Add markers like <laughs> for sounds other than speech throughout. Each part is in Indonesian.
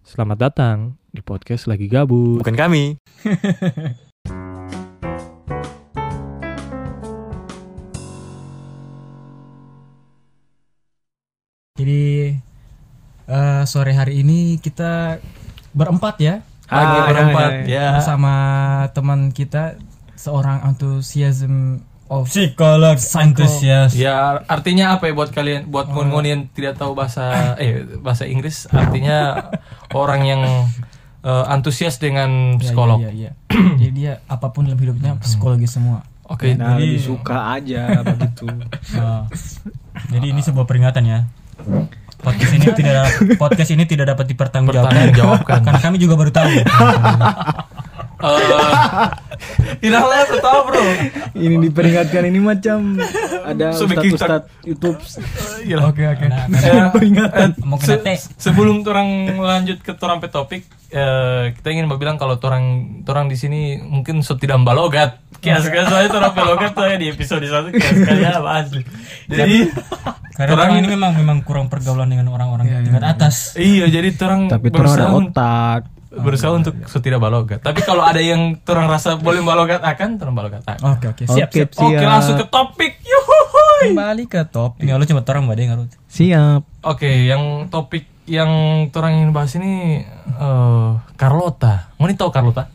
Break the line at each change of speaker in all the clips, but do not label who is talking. Selamat datang di podcast lagi gabut.
Bukan kami.
<laughs> Jadi eh, sore hari ini kita berempat ya
Lagi
Hai,
berempat
hai, hai.
ya.
bersama teman kita seorang antusiasm of Iya, psikolog antusias.
Ya artinya apa ya buat kalian buat ngun-ngun yang tidak tahu bahasa eh bahasa Inggris artinya orang yang eh, antusias
ya,
dengan psikolog.
Iya, <clears throat> iya, iya. Jadi dia apapun dalam hidupnya psikologi semua.
Oke.
Nah,
jadi-
lebih suka <laughs> aja begitu. Nah,
Jadi ini sebuah peringatan ya. Podcast ini tidak podcast ini tidak dapat dipertanggungjawabkan.
Pertanggungjawabkan.
Karena kami juga baru tahu.
Eh, tidaklah tahu bro.
ini diperingatkan ini macam ada
Subjektif.
ustad-ustad YouTube.
Oke oke.
Mau kena teh.
sebelum orang lanjut ke orang pe topik, eh, kita ingin bilang kalau orang orang di sini mungkin tidak balogat. Kias kias saya orang balogat saya ya di episode satu kias kias asli. Jadi
Karena orang ini memang memang kurang pergaulan dengan orang-orang tingkat atas.
iya jadi orang
Tapi terus
berusaha,
ada
un-
otak.
berusaha untuk tidak balogat. Tapi kalau ada yang orang rasa boleh balogat akan orang balogat akan.
Oke, oke, siap,
Oke,
siap.
Oke
Oh, siap.
langsung ke topik. Yuhuhuy.
Kembali ke topik.
Ini lu cuma orang badai ngarut.
Siap.
Oke, yang topik yang orang ingin bahas ini eh Carlota. Mau nih tahu Carlota?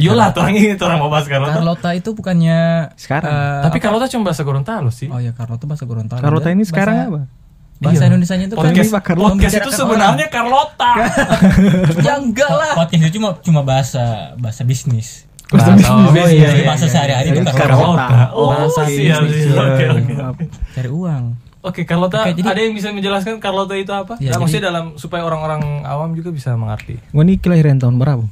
Iyalah, orang ini orang mau bahas Carlota.
Carlota itu bukannya
Sekarang.
eh,
Tapi Carlota cuma bahasa Gorontalo sih.
oh ya Carlota bahasa Gorontalo.
Carlota
Dia
ini sekarang
bahasa,
apa?
Bahasa
Iya.
Indonesianya itu kan
podcast,
Ini Pak Carlota.
podcast itu sebenarnya Carlota.
ya enggak lah.
Podcast itu cuma cuma bahasa bahasa bisnis.
Bahasa
Oh,
bisnis, iya,
Jadi bahasa sehari-hari
Jadi
itu
Carlota.
karena
Oh,
Bahasa
siap,
bisnis,
siap. Oke, oke.
Maaf.
Cari uang.
Oke, Carlota,
Oke, jadi-
ada yang bisa menjelaskan Carlota itu apa?
Iya,
Nah,
jadi-
maksudnya dalam supaya orang-orang awam juga bisa mengerti.
Gua ini kelahiran tahun berapa?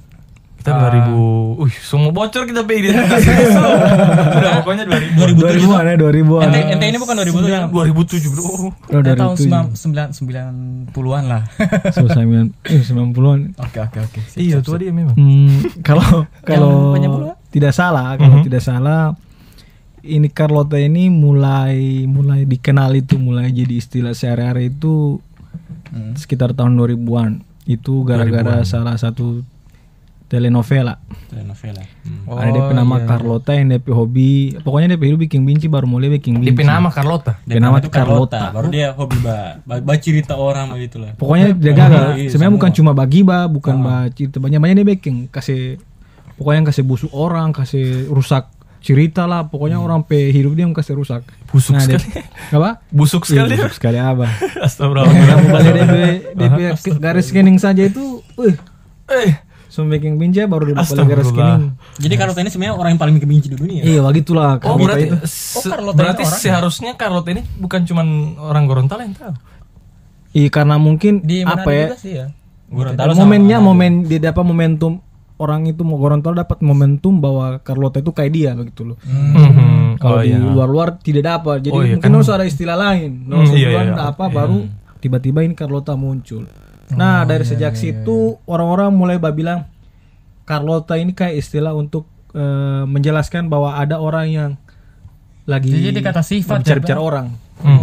Kita 2000, uh, semua bocor kita pe identitas. Udah pokoknya 2000.
2000-an ya, 2000-an.
Ente, ente ini bukan 2000
2007, Bro.
Oh,
Ya,
dari
tahun
itu.
sembilan- sembilan- sembilan puluhan lah.
<laughs> Selesai eh, 90-an.
Oke oke oke. Sip,
Iya,
sip,
tua
sip.
dia memang.
Hmm, kalau kalau
banyak pula.
tidak salah, kalau tidak salah ini Carlota ini mulai mulai dikenal itu mulai jadi istilah sehari-hari itu sekitar tahun 2000-an. Itu gara-gara salah satu telenovela.
Telenovela.
Ada DP nama Carlota yang DP hobi, pokoknya DP hobi bikin binci baru mulai bikin binci.
DP nama Carlota.
DP nama
itu
Carlota.
Baru dia hobi ba, ba, ba cerita orang begitu lah.
Pokoknya dia gagal.
iya,
Sebenarnya bukan cuma bagi ba, bukan ba cerita banyak banyak dia backing kasih pokoknya yang kasih busuk orang, kasih rusak cerita lah. Pokoknya orang pe hidup dia yang kasih rusak.
Busuk
Nah, dia-
sekali.
apa?
Busuk <laughs>
Iya,
sekali.
<laughs> busuk sekali abah.
Astagfirullah.
Yang balik DP DP garis scanning saja itu, wih,
Eh,
sum backing binci baru dia balik garis scanning.
Jadi Carlota ini sebenarnya orang yang paling kebenci di dunia.
Iya,
oh
begitulah. Carlota
berarti
itu.
se- berarti seharusnya Carlota ini bukan cuman orang Gorontalo yang tahu.
Iya karena mungkin
Di mana
apa ya?
juga sih ya?
Gorontalo sama
momennya momen dia dapat momentum orang itu mau Gorontalo dapat momentum bahwa Carlota itu kayak dia begitu loh.
Mhm.
Kalau
iya.
di luar-luar tidak dapat. Jadi
Oh, iya,
mungkin harus ada istilah lain.
Hmm,
No,
iya,
sebulan
iya.
apa baru tiba-tiba ini Carlota muncul. Nah, dari sejak situ orang-orang mulai bah bilang Carlota ini kayak istilah untuk eh, menjelaskan bahwa ada orang yang lagi
Jadi dia kata sifat, ya,
bicara orang.
Mhm.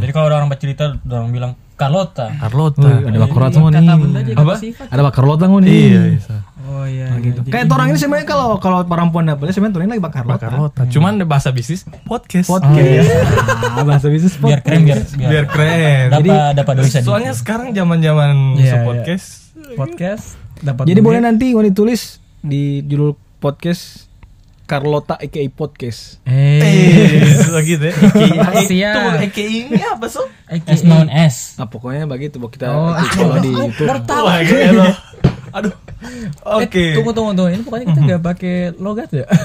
Jadi kalau ada orang bercerita, orang bilang Carlota.
Carlota.
Ah, ada Pak Carlota
Iya,
nih. Ah, Ada Pak Carlota nih.
Oh iya. iya.
gitu. Kayak orang ini sebenarnya kalau kalau perempuan double sebenarnya orang ini lagi bakar lotak.
Carlota. Cuman bahasa bisnis podcast.
Podcast. Ah, <laughs> bahasa bisnis podcast.
Biar keren biar biar,
Biar keren.
dapat dapat dosa di.
Soalnya sekarang zaman-zaman
Iya,
podcast.
Podcast dapat
Jadi
duit.
boleh nanti mau ditulis di judul podcast Carlota aka podcast.
Iya.
Eh,
Eh, <laughs> gitu ya.
Sia.
Itu EKI-nya apa sob?
S non S.
Nah, pokoknya begitu buat kita
<laughs> Oh,
itu kalau di YouTube.
Wah, kayak lo. Aduh.
Eh,
Oke.
Tunggu tunggu tunggu. Ini pokoknya kita nggak pakai logat ya.
<laughs>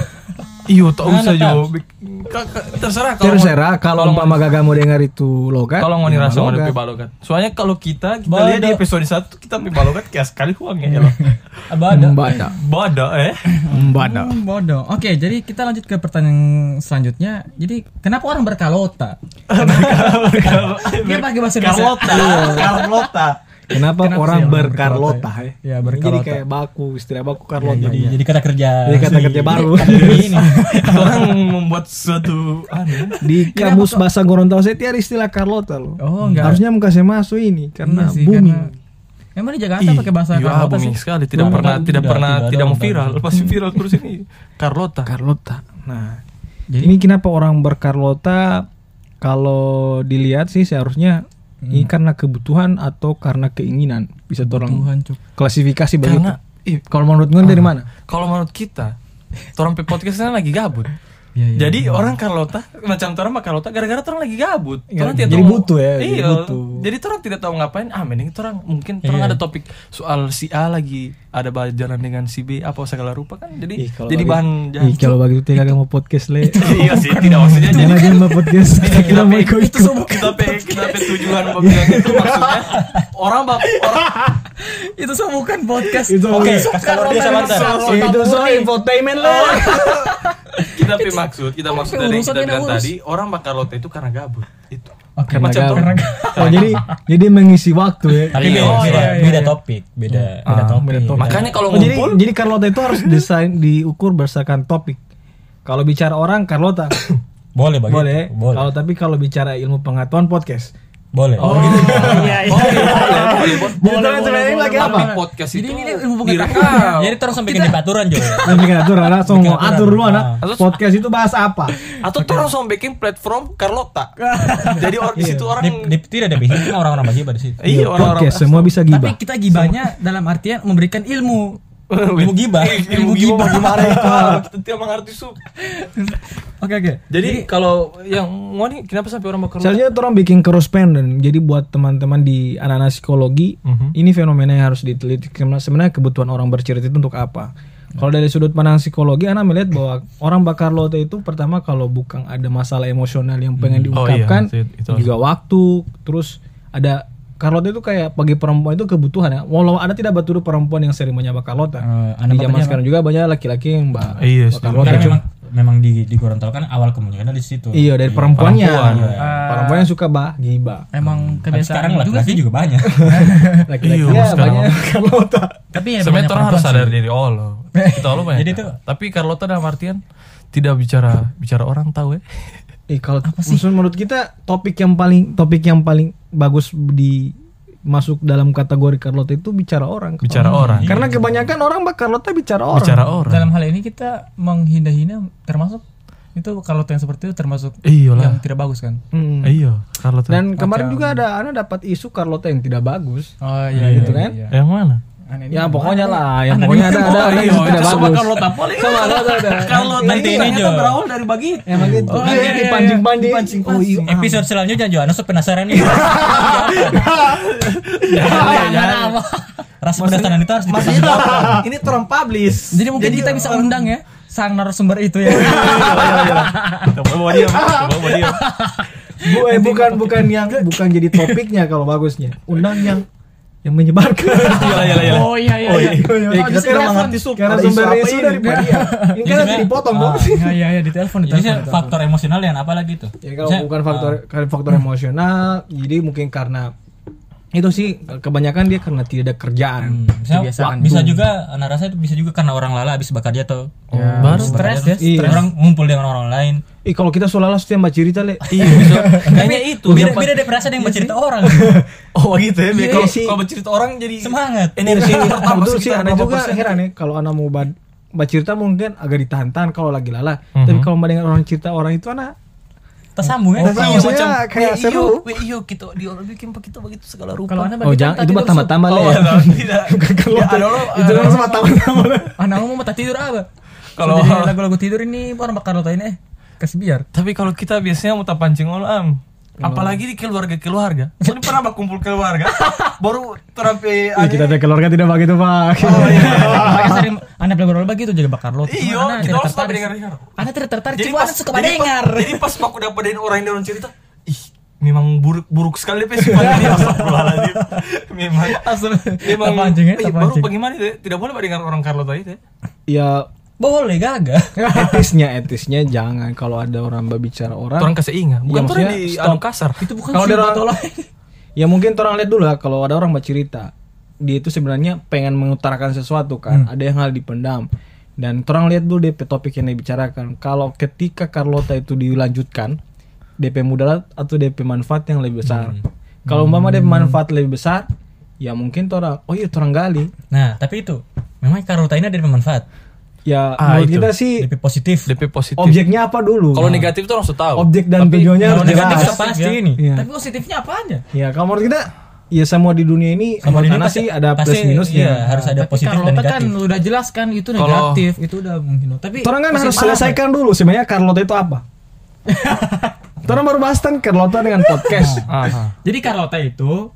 Iya, tak usah jawab. Ka- ka- Terserah kalau mau-
Terserah kalau umpama gagal mau dengar itu logat.
Kalau ngoni
ya
rasa ngoni
logat.
pi balogat. Soalnya kalau kita kita lihat di episode 1 kita pi balogat kayak sekali uangnya ya.
<laughs>
loh.
Abada.
Mbada.
Bodoh eh.
Mbada.
Hmm, bodoh. Oke, jadi kita lanjut ke pertanyaan selanjutnya. Jadi kenapa orang berkalota? Dia pakai bahasa Indonesia.
Carlota. Carlota.
Kenapa,
Kenapa
orang
sih orang
berkarlota
berkarlota
ya?
ya? Ya,
Jadi
berkarlota.
kayak baku, istilah baku
Iya,
Carlota. ya.
Jadi jadi kata kerja.
Jadi kata kerja baru.
Ini.
Orang membuat suatu anu.
di kamus bahasa Gorontalo saya tiada istilah Carlota loh.
Oh, enggak.
Harusnya mau kasih masuk ini karena
Iya sih,
booming.
karena- Emang di Jakarta pakai bahasa
iya,
Carlota
booming
sih? kan
sekali tidak
Bukan,
pernah
bukan,
tidak
tidak,
pernah
tidak ada,
tidak mau
bukan.
viral lepas viral terus ini Carlota
Carlota. Nah,
Jadi-
ini kenapa orang berkarlota kalau dilihat sih seharusnya ini
Hmm.
karena kebutuhan atau karena keinginan bisa
Tuhan,
orang
cuk.
klasifikasi begitu.
Karena- ih. Ah.
kalau menurut gue dari mana?
kalau menurut kita orang pe- podcastnya lagi gabut
Iya, iya.
jadi orang Carlota macam orang mah Carlota gara-gara orang lagi gabut
Iya,
orang
jadi
tahu-
butuh ya, jadi
iya
butuh.
jadi orang tidak tahu ngapain ah mending orang mungkin orang
Iya.
ada topik soal si A lagi ada jalan dengan si B apa segala rupa kan jadi
Ih, kalau
jadi
bagi-
bahan
Ih, kalau begitu tidak mau podcast le.
<laughs> iya sih
<laughs>
tidak maksudnya jadi
Jangan aja mau podcast. <laughs> Kita mau ikut
itu semua kita pe kita pe tujuan bilang itu
<laughs>
maksudnya orang bak orang
Itu semua bukan podcast.
Itu oke.
Oke, kasih luar biasa
Carlota.
mantan.
Itu soal infotainment le.
kita pe maksud kita maksud dari yang
urusan
kita
ini
bilang
urus.
tadi orang bakal lote itu karena gabut itu
Oke,
Macam
macam
tuh.
Oh, jadi jadi mengisi waktu ya.
Tapi
Ini-
beda,
oh,
beda,
iya, iya,
beda topik, beda beda
Ah,
topik.
beda topik.
makanya kalau
Oh, jadi
ngumpul
jadi Carlota itu harus desain diukur berdasarkan topik. Kalau bicara orang Carlota
boleh <coughs> bagi.
boleh.
boleh.
Kalau tapi kalau bicara ilmu pengetahuan podcast.
boleh.
Oh, iya, boleh, boleh, boleh.
Boleh. Boleh. lagi
Tapi
apa?
podcast
Jadi
itu
ini ilmu pengetahuan.
direkam
Jadi terus sampai bikin aturan Jo.
Nanti kan atur langsung
Bikin
mau
aturan. Ah.
atur dulu anak.
Terus-
Podcast itu bahas apa?
atau terus langsung bikin platform Carlota jadi orang di situ orang
Iya. Di, di- tidak ada bikin orang-orang bagi pada situ.
iya orang-orang <laughs>
podcast semua bisa
Tapi
gibah.
kita gibahnya dalam artian memberikan ilmu.
Ilmu gibah.
ilmu gimana gimana itu <laughs> kita tidak mengerti sup
Oke oke.
jadi kalau yang mau nih kenapa sampai orang bakal
Seharusnya itu orang bikin correspondent. Jadi buat teman-teman di anak-anak psikologi,
Mhm.
ini fenomena yang harus diteliti. Karena Sebenarnya kebutuhan orang bercerita itu untuk apa? Kalau dari sudut pandang psikologi, anak melihat bahwa orang bakar lote itu pertama kalau bukan ada masalah emosional yang pengen
Oh iya,
diungkapkan,
itu- itu-
juga waktu, terus ada Carlota itu kayak bagi perempuan itu kebutuhan ya. Walau ada tidak betul perempuan yang sering menyapa Carlota.
Eh, anak
di zaman
bapaknya
sekarang juga banyak laki-laki yang mbak.
Iya, setuju.
Karena memang memang di di Gorontalo kan awal kemunculannya di situ.
Iya dari perempuannya. Perempuan yang suka bah gibah.
emang
Tapi sekarang
kebiasaan juga
laki-laki juga banyak. <laughs>
Laki-laki
Iya,
ya,
sekarang-
banyak Carlota.
Tapi ya
sebenarnya
banyak
orang harus
perempuan
sadar diri oh lo kita lo banyak
Jadi
tahu.
tuh-
tapi Carlota dalam artian tidak bicara bicara orang tahu ya
Eh kalau maksudnya menurut kita topik yang paling topik yang paling bagus di masuk dalam kategori Carlota itu bicara orang.
bicara orang kan
Karena kebanyakan orang mbak Carlota bicara Oh, iya.
Iya.
orang.
bicara
sih.
orang
Dalam hal ini kita menghina-hina termasuk itu kalau yang seperti itu termasuk
iya lah
yang tidak bagus kan?
Hmm.
iya Carlota
Dan kemarin juga ada anak dapat isu Carlota yang tidak bagus.
Oh iya
gitu kan?
yang mana
Ya pokoknya lah, yang pokoknya ada ada orang yang tidak bagus.
Carlota poli
Sama Carlota ada. Nah,
Carlota
Nanti ini Jo.
dari bagi
Emang gitu.
Oh, iya, iya, iya.
Dipancing-pancing. Oh, iya.
Episode selanjutnya Jo, Anu penasaran nih. Rasa penasaran itu harus dipasang.
iya.
ini terang publish
Jadi mungkin kita bisa undang ya sang narasumber itu ya.
coba dia coba dia
Bu- eh, bukan bukan yang bukan jadi topiknya kalau bagusnya. Undang yang yang menyebarkan.
<laughs>
<laughs>
Oh iya iya. iya.
Ya, kita
bisa
tidak
telepon.
mengerti sub karena sumber isu dari media. Ini kan nanti dipotong dong.
Ah, Iya iya iya ditelepon
Jadi
ditelepon.
faktor emosional yang apa lagi tuh? hmm,
Ya kalau bukan faktor karena faktor emosional, jadi mungkin karena itu sih kebanyakan dia karena tidak ada kerjaan.
Misalnya, wak- bisa juga anak rasa itu bisa juga karena orang lala habis bakar dia atau
baru
stres ya,
Iya.
stres. orang ngumpul dengan orang lain.
Ih kalau kita selalu setiap mbak cerita le.
iya bisa kayaknya itu
Beda,
yang pas-
beda deh perasaan
Iya
yang bercerita
<laughs>
orang.
<laughs> oh gitu ya
Iya,
kalau
sih.
kalau bercerita orang jadi
Semangat.
energi pertama
Betul sih,
sekitar
anak
berapa
juga
persen.
heran ya kalau anak mau bad- mbak cerita mungkin agak ditahan-tahan kalau lagi lala. Tapi kalau mbak dengar orang cerita orang itu anak
Tersambung
Oh,
ya.
Iya, maksudnya kayak seru.
iyo kita di orang bikin begitu begitu segala rupa.
Kalau anda
Oh
kan
jangan itu mbak tambah-tambah le.
Oh,
<laughs>
tidak. tidak. Ya, ada lo.
Itu kan sama tambah-tambah.
<laughs>
<laughs> le.
Anak mau tak tidur apa?
Kalau-
Kalau
<laughs>
jadi lagu-lagu tidur ini orang bakal rotain eh kasih biar.
Tapi kalau kita biasanya mau pancing lo am. Apalagi di keluarga keluarga. Ini pernah mbak kumpul
<laughs>
keluarga. Baru terapi.
Ih, Iya, kita ada keluarga tidak begitu pak.
Oh,
Makanya sering anak belagu begitu
gitu,
jadi bakar lo.
Iya, kita harus sampai dengar-dengar.
Anak tidak tertarik, cuma anak suka dengar.
Jadi pas aku udah pedain orang yang orang cerita, ih memang buruk buruk sekali deh sifatnya dia astagfirullahaladzim memang memang
Terpancing
Ih,
ya,
baru
terpancing.
bagaimana itu ya? tidak boleh mbak dengar orang Carlota itu ya. <laughs>
Ya
Boleh gagah.
etisnya etisnya jangan kalau ada orang mbak bicara orang
orang kasih ingat bukan
Iya,
orang
maksudnya
di
stop.
anu kasar
Itu bukan
Kalau
kalau
dia
orang
orang- <laughs> ya mungkin orang lihat dulu lah kalau ada orang bercerita dia itu sebenarnya pengen mengutarakan sesuatu kan ada yang hal dipendam dan orang lihat dulu DP topik yang dibicarakan kalau ketika Carlota itu dilanjutkan DP mudarat atau DP manfaat yang lebih besar kalau umpama DP manfaat lebih besar ya mungkin orang oh iya orang gali
Nah, tapi itu memang karota ini ada yang bermanfaat.
ya
Ah,
menurut
itu.
kita sih
DP positif.
DP positif.
objeknya apa dulu Nah,
Kalau negatif tuh orang harus tahu.
objek dan tujuannya
Kalau
harus
negatif
jelas
sudah pasti
Ya.
ini.
Iya.
Tapi positifnya apanya?
ya kalau menurut kita ya semua di dunia ini
Sama
sama
ini
karena
pasti-
sih ada
pasti,
plus minusnya
iya, harus ada
Tapi
positif dan
Carlota kan
negatif.
udah jelas kan itu
Kalau-
negatif, itu udah mungkin. Tapi
Torang kan
positif
harus
apa?
selesaikan dulu sebenarnya Carlota itu apa. Torang baru bahas kan Carlota dengan podcast.
Aha.
Jadi Carlota itu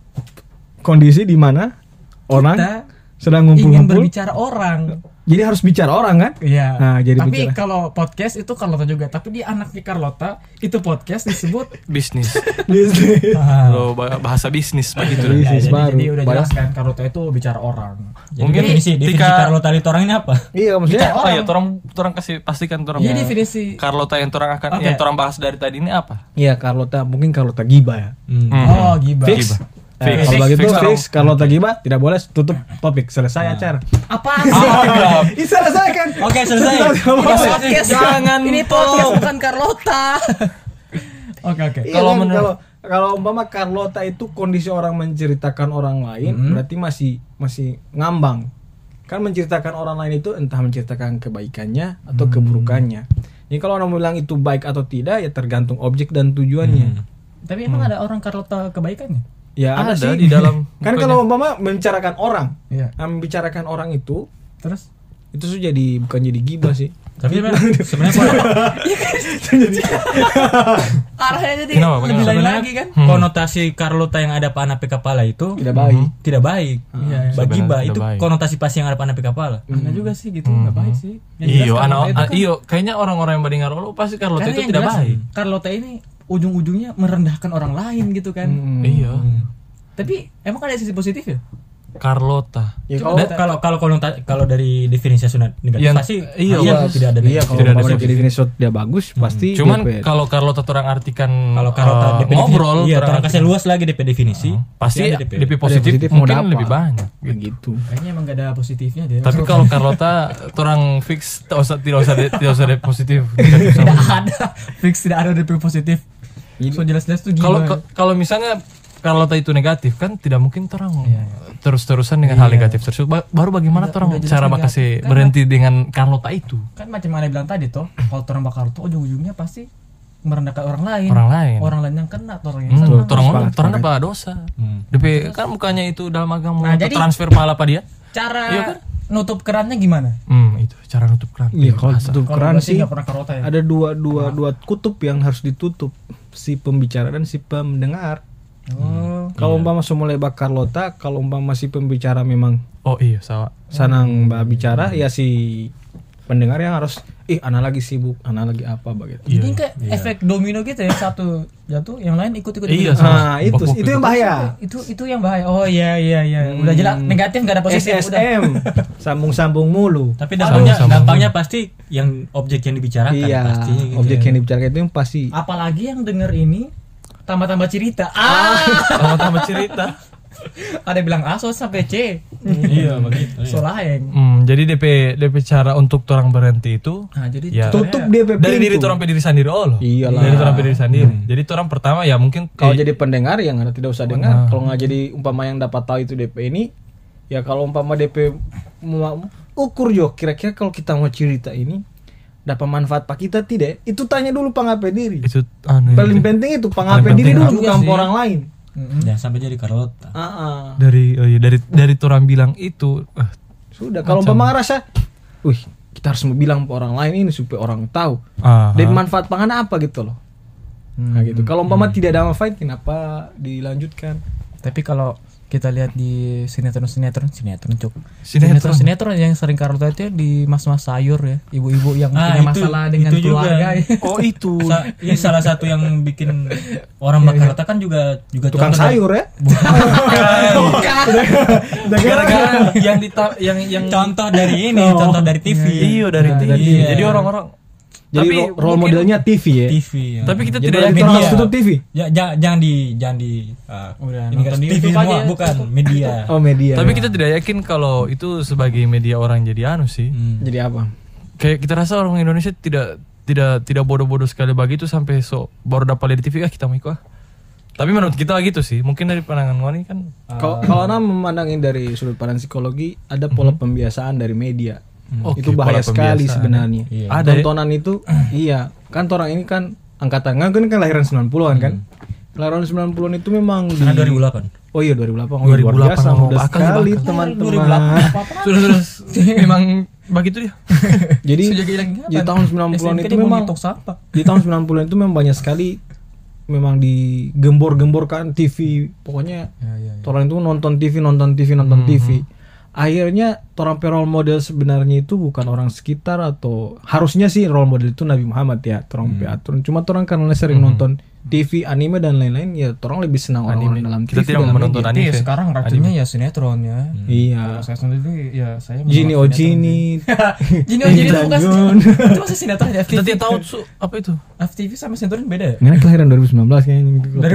Kondisi di mana orang
kita
sedang
ingin
ngumpul-ngumpul.
berbicara orang.
Jadi harus bicara orang kan?
Iya.
Nah, jadi
tapi
bicara.
kalau podcast itu Carlota juga, tapi di anaknya Carlota itu podcast disebut
Bisnis.
Bisnis.
Kalau ba- bahasa bisnis begitu.
Ya,
Bisnis Iya,
jadi,
baru.
jadi udah jelas
Banyak-
kan Carlota itu bicara orang.
Jadi
Mungkin
definisi, definisi
ketika-
karota itu orang ini apa?
Iya <laughs> maksudnya
Apa ya? Orang orang kasih pastikan orang.
Jadi Iya, definisi
Carlota yang orang akan yang orang bahas dari tadi ini apa? Hmm.
Iya Carlota mungkin Carlota Giba ya.
Oh, gibah.
Fix. Eh,
Fix.
kalau begitu
Fix,
fix, Carlota Giba tidak boleh tutup topik selesai acara.
Apa sih?
<laughs> Ih, selesai kan?
Oke, selesai.
podcast
Jangan,
ini podcast bukan Carlota. Oke oke.
Iya
Kalau
kan,
menurut-
kalau kalau umpama Carlota itu kondisi orang menceritakan orang lain berarti masih masih ngambang. Kan menceritakan orang lain itu entah menceritakan kebaikannya atau keburukannya. Jadi kalau orang bilang itu baik atau tidak ya tergantung objek dan tujuannya.
Tapi emang ada orang Carlota kebaikannya?
Ya ada,
Ada di
sih.
dalam
<laughs>
bukannya.
kan kalau umpama membicarakan orang,
Iya.
nah, membicarakan orang itu
Terus?
itu sudah jadi bukan jadi gibah sih.
Tapi sebenarnya sebenarnya
<laughs>
kon-
Arahnya jadi
Kenapa,
lebih
kenapa?
lain
sebenarnya
lagi kan?
konotasi karota yang ada pada anak kepala itu
Tidak baik.
tidak baik. Bagi
Sebenarnya
ba
tidak
itu
baik.
konotasi pasti yang ada pada anak kepala.
Benar
Mm-hmm.
juga sih gitu, nggak baik sih. Yang jelas
Iyo,
Carlota
anak, ah,
itu kan-
iyo, kayaknya orang-orang yang mendengar lo pasti Carlota
karena
itu
yang
tidak
jelas,
baik.
Carlota ini ujung-ujungnya merendahkan orang lain gitu kan.
Iya,
Tapi emang ada sisi positif ya?
Carlota.
Ya kalau
Cuma
Dan Eh, kalau kalau konota- kalau dari definisi sunat negatif
Yang-
pasti
iya,
pasti
iya.
tidak ada
iya kalau
Tidak ada
umpama
solusi.
jadi result dia bagus pasti
Cuman
dia- ya?
kalau Carlota orang artikan
kalau karota
eh,
DP definisi-
ngobrol,
iya,
orang
orang kasih
artikan,
luas lagi DP definisi.
pasti
Pasti ada
DP,
DP.
positif,
positif mau
mungkin
dapat.
lebih
<laughs>
banyak.
begitu.
Kayaknya emang gak ada positifnya dia.
Tapi
<laughs>
kalau Carlota orang fix tidak usah tidak usah tidak usah ada
<laughs>
positif. Negatif sama.
tidak ada fix tidak ada DP positif. So jelas-jelas tuh
Kalau
gimana?
kalau misalnya Carlota itu negatif kan tidak mungkin orang
Iya,
terus-terusan dengan hal negatif tersebut. Ba- Baru bagaimana orang cara makasih berhenti dengan Carlota itu
kan macam mana bilang tadi toh kalau orang bakar tuh ujung-ujungnya pasti merendahkan orang lain
orang lain.
Iya. orang lain yang kena atau orang yang
Hmm,
senang
orang ngomong,
sepakat,
orang apa dosa? DP kan bukannya itu dalam agama
Nah,
untuk
jadi-
transfer pahala apa dia?
cara
Iya kan?
nutup kerannya gimana
Hmm, itu cara nutup keran.
Iya kalau tutup
Kalau
keran
gua sih
sih
nggak pernah karota ya
ada dua dua dua kutub yang harus ditutup si pembicara dan si pendengar.
oh
Iya.
Kalau umpama semula bakar lota, kalau umpama si pembicara memang
Oh iya, sawa. Hmm.
sanang mbak bicara ya si pendengar yang harus ih anak lagi sibuk, anak lagi apa gitu. begitu.
Iya,
jadi kayak efek domino gitu ya satu jatuh yang lain ikut ikut
Iya, sawa.
Nah, itu itu yang bahaya.
itu itu yang bahaya oh iya iya iya udah jelas negatif nggak ada positif udah
SSM sambung-sambung mulu.
Tapi dampaknya
Sama-sama.
dampaknya pasti yang objek yang dibicarakan
Iya, <laughs>
pasti gitu
objek
ya.
yang dibicarakan itu yang pasti
apalagi yang denger ini tambah-tambah cerita
<laughs>
ah
Tambah-tambah cerita.
ada bilang asos sampai c Oh,
Iya, begitu. iya.
solaeng
Hmm, jadi DP DP cara untuk orang berhenti itu
nah jadi
Ya.
tutup DP
dari diri
pintu.
orang pe diri sendiri oh loh.
Iyalah.
Dari orang pe diri sendiri. Jadi orang pertama ya mungkin
Kalau
eh,
jadi pendengar ya nggak tidak usah dengar. Kalau nggak jadi umpama yang dapat tahu itu DP ini, ya kalau umpama DP mau- ukur yo kira-kira kalau kita mau cerita ini dapat manfaat pak kita tidak? Itu tanya dulu pangape diri.
itu anu ya,
Paling
gitu.
penting itu pangape
Paling
diri
penting
dulu bukan orang lain.
Jangan sampai jadi karota.
Ah, ah.
dari oh iya, dari dari orang bilang itu eh,
Sudah kalau umpama rasa, wih kita harus bilang ke orang lain ini supaya orang tahu.
ah,
Dan manfaat pangan apa gitu loh. Nah gitu.
Hmm,
Kalau umpama tidak ada manfaat kenapa dilanjutkan?
Tapi kalau kita lihat di sinetron-sinetron, sinetron cuk.
Sinetron.
Sinetron-sinetron yang sering kartu itu ya, di mas-mas sayur ya, ibu-ibu yang
Ah,
punya
itu-
masalah dengan
itu juga. <laughs>
keluarga. ya.
oh itu
Sa- ini salah satu yang bikin orang bakar karota kan juga juga
Tukang
contoh dari-
sayur ya?
<laughs>
gara-gara yang
Ah.
dita- yang yang
Contoh dari ini, contoh dari TV.
iya.
iyo dari
Nah,
TV.
iya.
Jadi orang-orang
Jadi
Tapi
ro- role
mungkin-
modelnya TV ya.
TV. Ya.
tapi kita
Jadi
tidak
berarti
yakin
orang
media.
harus tutup TV.
Ya, ja- jangan di jangan di ah,
Oh, Udah,
ini kan
nonton di
TV
YouTube
semua,
aja.
bukan
<laughs>
media.
Oh media.
tapi kita tidak yakin kalau itu sebagai media orang jadi anu sih.
Hmm.
Jadi apa?
kayak kita rasa orang Indonesia tidak tidak tidak bodoh-bodoh sekali bagi itu sampai so baru dapat lihat di TV ah kita mau ikut ah Tapi menurut kita gitu sih. Mungkin dari pandangan Wani kan
Kalau kalau orang memandangin dari sudut pandang psikologi, ada pola pembiasaan dari media.
Oke,
itu bahaya
pola
sekali
pembiasaan.
sebenarnya.
Iya.
Ada ya?
Tontonan itu iya, kan orang ini kan angkatan kan kan lahiran 90-an kan. Lahiran 90-an itu memang di
Karena 2008.
Oh iya 2008. Oh, iya, luar
2008,
biasa
mau
mudah
bakal
sekali
dibakar.
teman-teman.
sudah sudah
<laughs>
memang begitu dia.
Jadi
Sejak hilang ingatan.
di tahun 90-an
SNK
itu
dia mau
memang
nyetok sampah.
di tahun 90-an itu memang banyak sekali memang digembor-gemborkan TV pokoknya
Ya,
orang itu nonton TV nonton TV nonton TV
Hmm.
akhirnya orang pe- role model sebenarnya itu bukan orang sekitar atau harusnya sih role model itu Nabi Muhammad ya orang
Hmm.
pe aturan cuma orang karena sering nonton TV anime dan lain-lain ya orang lebih senang orang-orang dalam
Kita gitu
TV
tidak
dalam
menonton
media.
anime.
Jadi sekarang racunnya ya sinetron ya.
iya
Saya sendiri ya saya
Jini
menolak
Ojini
sinetron. <laughs> Jini oh Jini itu bukan
Jun.
itu masih sinetron ya.
Kita
FTV.
tidak tahu su- apa itu.
FTV sama sinetron beda ya?
Ngana kan kelahiran 2019 kayaknya
Dari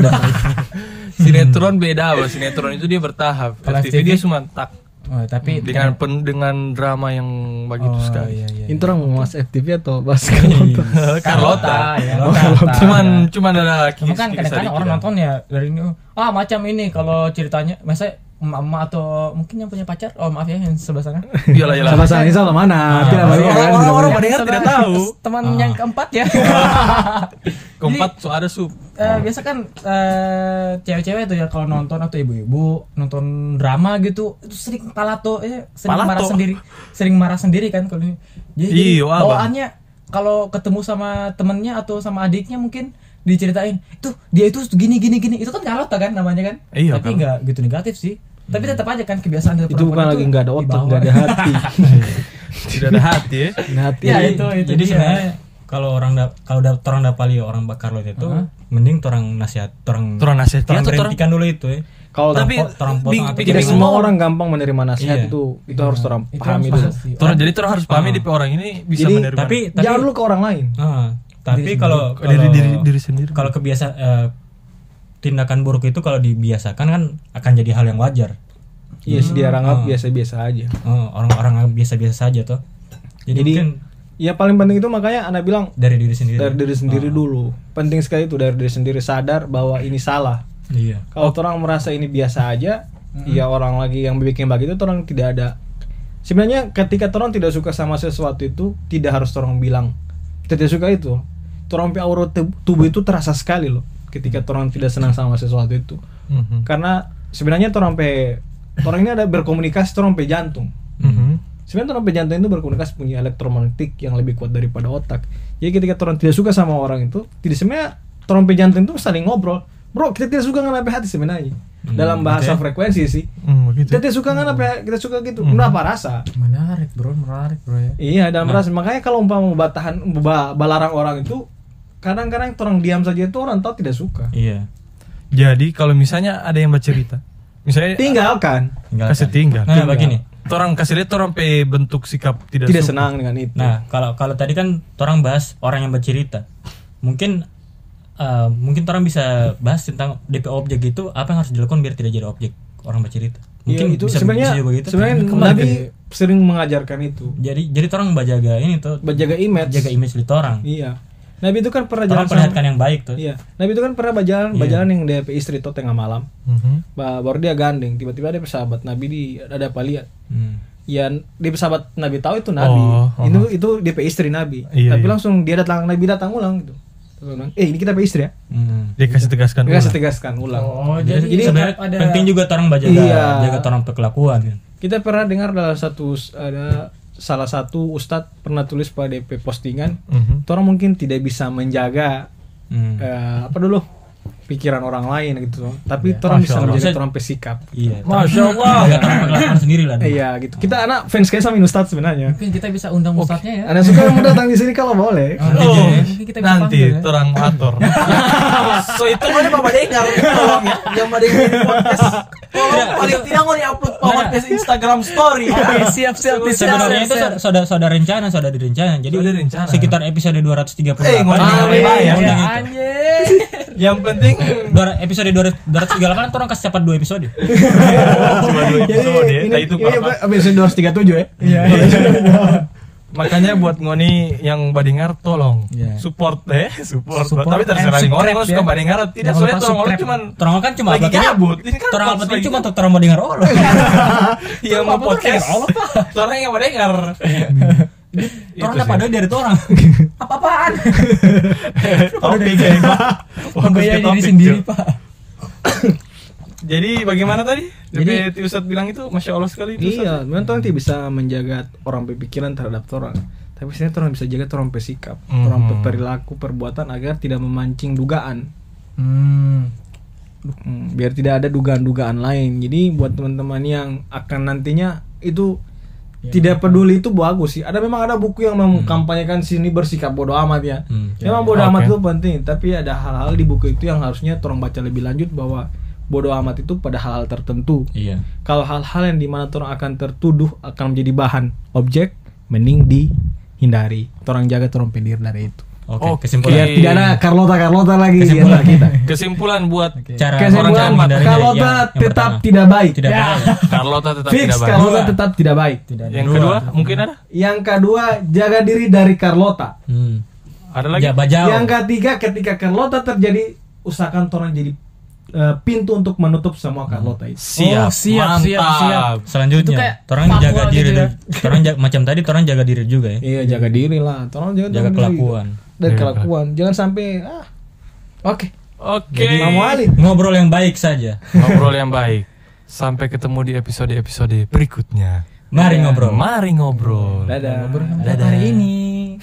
<laughs> Sinetron beda, Bos. Sinetron itu dia bertahap.
Kalau
FTV dia cuma tak
Oh, tapi
dengan pen- dengan drama yang begitu
Oh,
kan sekali.
iya, iya.
Itu orang mau mas FTV atau bahas
Iya.
Kalonto?
<laughs> Kan Carlota.
ya.
Oh, Cuman cuman ada
Emang
kikis
kan kadang-kadang orang nonton ya dari ini oh, ah macam ini kalau ceritanya masa emak-emak atau mungkin yang punya pacar oh maaf ya yang sebelah sana
Iyalah iyalah.
Sama sama Insya Allah mana? Tidak banyak
Orang-
kan? tidak
orang-
banyak.
pada kan tidak tahu.
Iya, teman yang keempat ya <laughs>
Keempat so ada sub.
Eh, biasa kan eh, cewek-cewek tuh ya kalau nonton atau ibu-ibu nonton drama gitu itu sering palato eh, sering
Palato.
marah sendiri sering marah sendiri kan kalau ini jadi, jadi
Iya, Abang.
bawaannya kalau ketemu sama temennya atau sama adiknya mungkin diceritain itu dia itu gini gini gini itu kan galota kan namanya kan
Iya, Hmm.
tapi
galota.
nggak gitu negatif sih tapi tetap aja kan kebiasaan dari
Itu bukan
perempuan
lagi nggak ada otak,
dibawa.
nggak ada
<laughs>
hati.
Tidak ada hati ya.
Nggak Hati.
Iya,
ya itu itu
Jadi
dia.
sebenarnya kalau orang da, kalau da, orang dapali orang bakar lo itu
Uh-huh.
mending orang nasihat orang
Torang nasihat,
Iya,
torang-
berhentikan dulu itu ya.
Kalau
Torang
tapi
po- torang
bi-
potong atau
bikin
tidak
tidak.
bingung
semua orang gampang menerima nasihat
Iya.
itu, itu harus orang
Itu
paham
harus
itu.
paham sih.
Torang- jadi orang harus pahami di orang ini bisa
Jadi,
menerima.
tapi tapi
Jangan lu ke orang lain.
ah, tapi kalau
Dari
kalau-
diri- diri sendiri.
Kalau kebiasaan eh, tindakan buruk itu kalau dibiasakan kan akan jadi hal yang wajar.
Iya, sih, dia anggap biasa-biasa aja.
Oh, orang-orang yang biasa-biasa saja toh. Jadi,
Jadi,
mungkin
ya
Iya.
paling penting itu makanya anak bilang
dari diri sendiri.
dari diri sendiri dulu. Penting sekali itu dari diri sendiri sadar bahwa ini salah.
Iya.
Kalau orang merasa ini biasa aja, ya orang lagi yang bikin begitu orang tidak ada. Sebenarnya ketika orang tidak suka sama sesuatu itu tidak harus orang bilang tidak suka itu. Orang punya aura tub- tubuh itu terasa sekali loh ketika orang tidak senang sama sesuatu itu.
Mhm.
Karena sebenarnya orang pe orang ini ada berkomunikasi orang pe jantung.
Mhm.
Sebenarnya orang pe jantung itu berkomunikasi punya elektromagnetik yang lebih kuat daripada otak. Jadi ketika orang tidak suka sama orang itu, tidak sebenarnya orang pe jantung itu saling ngobrol. Bro, kita tidak suka ngelape hati sebenarnya.
Hmm,
Dalam bahasa frekuensi sih.
Hmm, begitu.
Gitu.
Kita tidak suka ngelape, kita suka gitu.
Hmm.
Udah apa rasa?
menarik bro menarik bro ya
Iya,
Nah.
dalam rasa. Makanya kalau umpama batahan ba- balarang orang itu kadang-kadang orang diam saja itu orang tahu tidak suka.
Iya.
Jadi kalau misalnya ada yang bercerita, misalnya
Tinggalkan.
Tinggalkan.
kasih tinggal.
Nah, begini.
Torang kasih dia torang pe bentuk sikap tidak,
Tidak
suka.
senang dengan itu.
Nah, kalau kalau tadi kan orang bahas orang yang bercerita. Mungkin eh, mungkin orang bisa bahas tentang DP objek itu apa yang harus dilakukan biar tidak jadi objek orang bercerita.
Iya,
Mungkin
itu
bisa
sebenarnya
bisa juga gitu. begitu.
sebenarnya Nabi sering mengajarkan itu.
jadi jadi orang menjaga ini tuh
Menjaga image.
jaga image di orang.
Iya. Nabi itu kan pernah jalan
Orang
sama,
perlihatkan yang baik tuh.
Iya. Nabi itu kan pernah berjalan
Iya.
berjalan yang DP istri itu tengah malam.
Mhm.
Ba- Baru dia gandeng, tiba-tiba ada sahabat Nabi di ada apa lihat.
Hmm.
ya di sahabat Nabi tahu itu Nabi
Oh, oh.
itu itu DP istri Nabi
Iya,
tapi
iya.
langsung dia datang Nabi datang ulang gitu Terus dia bilang, eh ini kita DP istri ya
Hmm.
Dia kasih tegaskan.
mereka
ulang. Iya,
saya tegaskan ulang
oh
Jadi,
jadi,
sebenarnya
ada
penting juga orang menjaga
Iya.
jaga orang perkelakuan kan.
kita pernah dengar dalam satu ada salah satu ustadz pernah tulis pada DP postingan
Mhm.
orang mungkin tidak bisa menjaga
Hmm.
eh, apa dulu pikiran orang lain gitu tapi orang bisa menjaga orang pesikap
Iya.
Masya Allah.
Jaga orang perkelakuan sendiri lah.
iya gitu kita anak fans kayak sama ustadz sebenarnya
mungkin kita bisa undang ustadznya ya
anak suka mau datang di sini kalau boleh
Oh,
Mungkin kita bisa
nanti
panggil ya.
torang atur. so itu
Mana Bapak dengar tolong ya yang mendengar podcast. Tolong paling tidak mau di-upload podcast Instagram story.
Oke, siap siap siap,
Sebenarnya
siap,
itu
siap.
saudara saudara rencana, saudara direncana. Jadi
Saudara rencana.
sekitar episode 238.
Eh, ngomong
Undang
apa
itu.
ya?
Undang
Ya,
itu.
anjir.
yang penting
iya. Dua- episode 238 itu orang kasih cepat 2 episode.
iya,
cuma dua episode ya. Nah, itu
ini
apa?
iya. episode 237 ya. Iya.
Makanya buat ngoni yang badingar tolong
Iya.
support eh support.
Support
Tapi terserah
and
nih ngoreng lo
subscribe,
suka
ya.
badingar atau tidak
Jangan
soalnya tolong
lupa
lo
subscribe.
cuma
Orang kan cuma
lagi
uploadnya-
gabut. Ini kan
Torang
podcast
penting
lagi
cuma tuh orang mau dengar orang.
yang mau podcast. Orang yang
<laughs>
badingar.
Orang dapat doa dari tuh
<laughs>
orang.
Apa-apaan?
Topik
iya,
ya. Pak. Fokus ke
Membayar diri
topik,
sendiri,
Jo.
Pak.
Jadi bagaimana tadi? Jadi
Jadi-
Ustadz bilang itu masya Allah sekali. itu, Ustadz.
Iya, memang tuh nanti bisa menjaga orang berpikiran terhadap orang. Tapi sebenarnya orang bisa jaga orang pesikap, orang
Mhm.
perilaku, perbuatan agar tidak memancing dugaan.
Hmm.
Hmm, biar tidak ada dugaan-dugaan lain. Jadi buat teman-teman yang akan nantinya itu tidak peduli itu bagus sih. Ada memang ada buku yang mengkampanyekan sini bersikap bodoh amat ya.
Hmm,
memang bodoh
Oke.
amat itu penting, tapi ada hal-hal di buku itu yang harusnya orang baca lebih lanjut bahwa bodoh amat itu pada hal-hal tertentu
Iya.
kalau hal-hal yang dimana orang akan tertuduh akan menjadi bahan objek mending dihindari orang jaga orang pinggir dari itu
Oke,
Oke.
kesimpulan.
biar tidak ada Carlota Carlota lagi di antara kita
Kesimpulan buat
Cara
<laughs> kesimpulan
menghindarinya
Carlota
iya, yang- yang
tetap
pertama,
tidak baik
tidak
Ya.
baik.
Carlota tetap
fix
tidak baik.
Carlota tetap tidak baik
Tidak ada.
Yang kedua mungkin ada.
yang kedua jaga diri dari Carlota
Hmm.
Ada lagi.
Ya,
Jabat jauh.
yang ketiga ketika Carlota terjadi usahakan orang jadi eh, pintu untuk menutup semua Carlota itu
Siap,
Oh, siap,
mantap.
siap, siap.
Selanjutnya,
Itu kayak
orang
fatwa
jaga
gitu
diri.
ya.
dari- Orang jaga- macam tadi orang jaga diri juga ya.
Iya jaga diri lah, tolong jangan
Jaga
diri.
kelakuan.
Dan
Jaga
kelakuan, jangan sampai ah. Oke,
Oke.
Mamo Ali.
Ngobrol yang baik saja.
Ngobrol yang baik. Sampai ketemu di episode-episode berikutnya.
Mari ngobrol.
Mari ngobrol.
Dadah.
Hari ini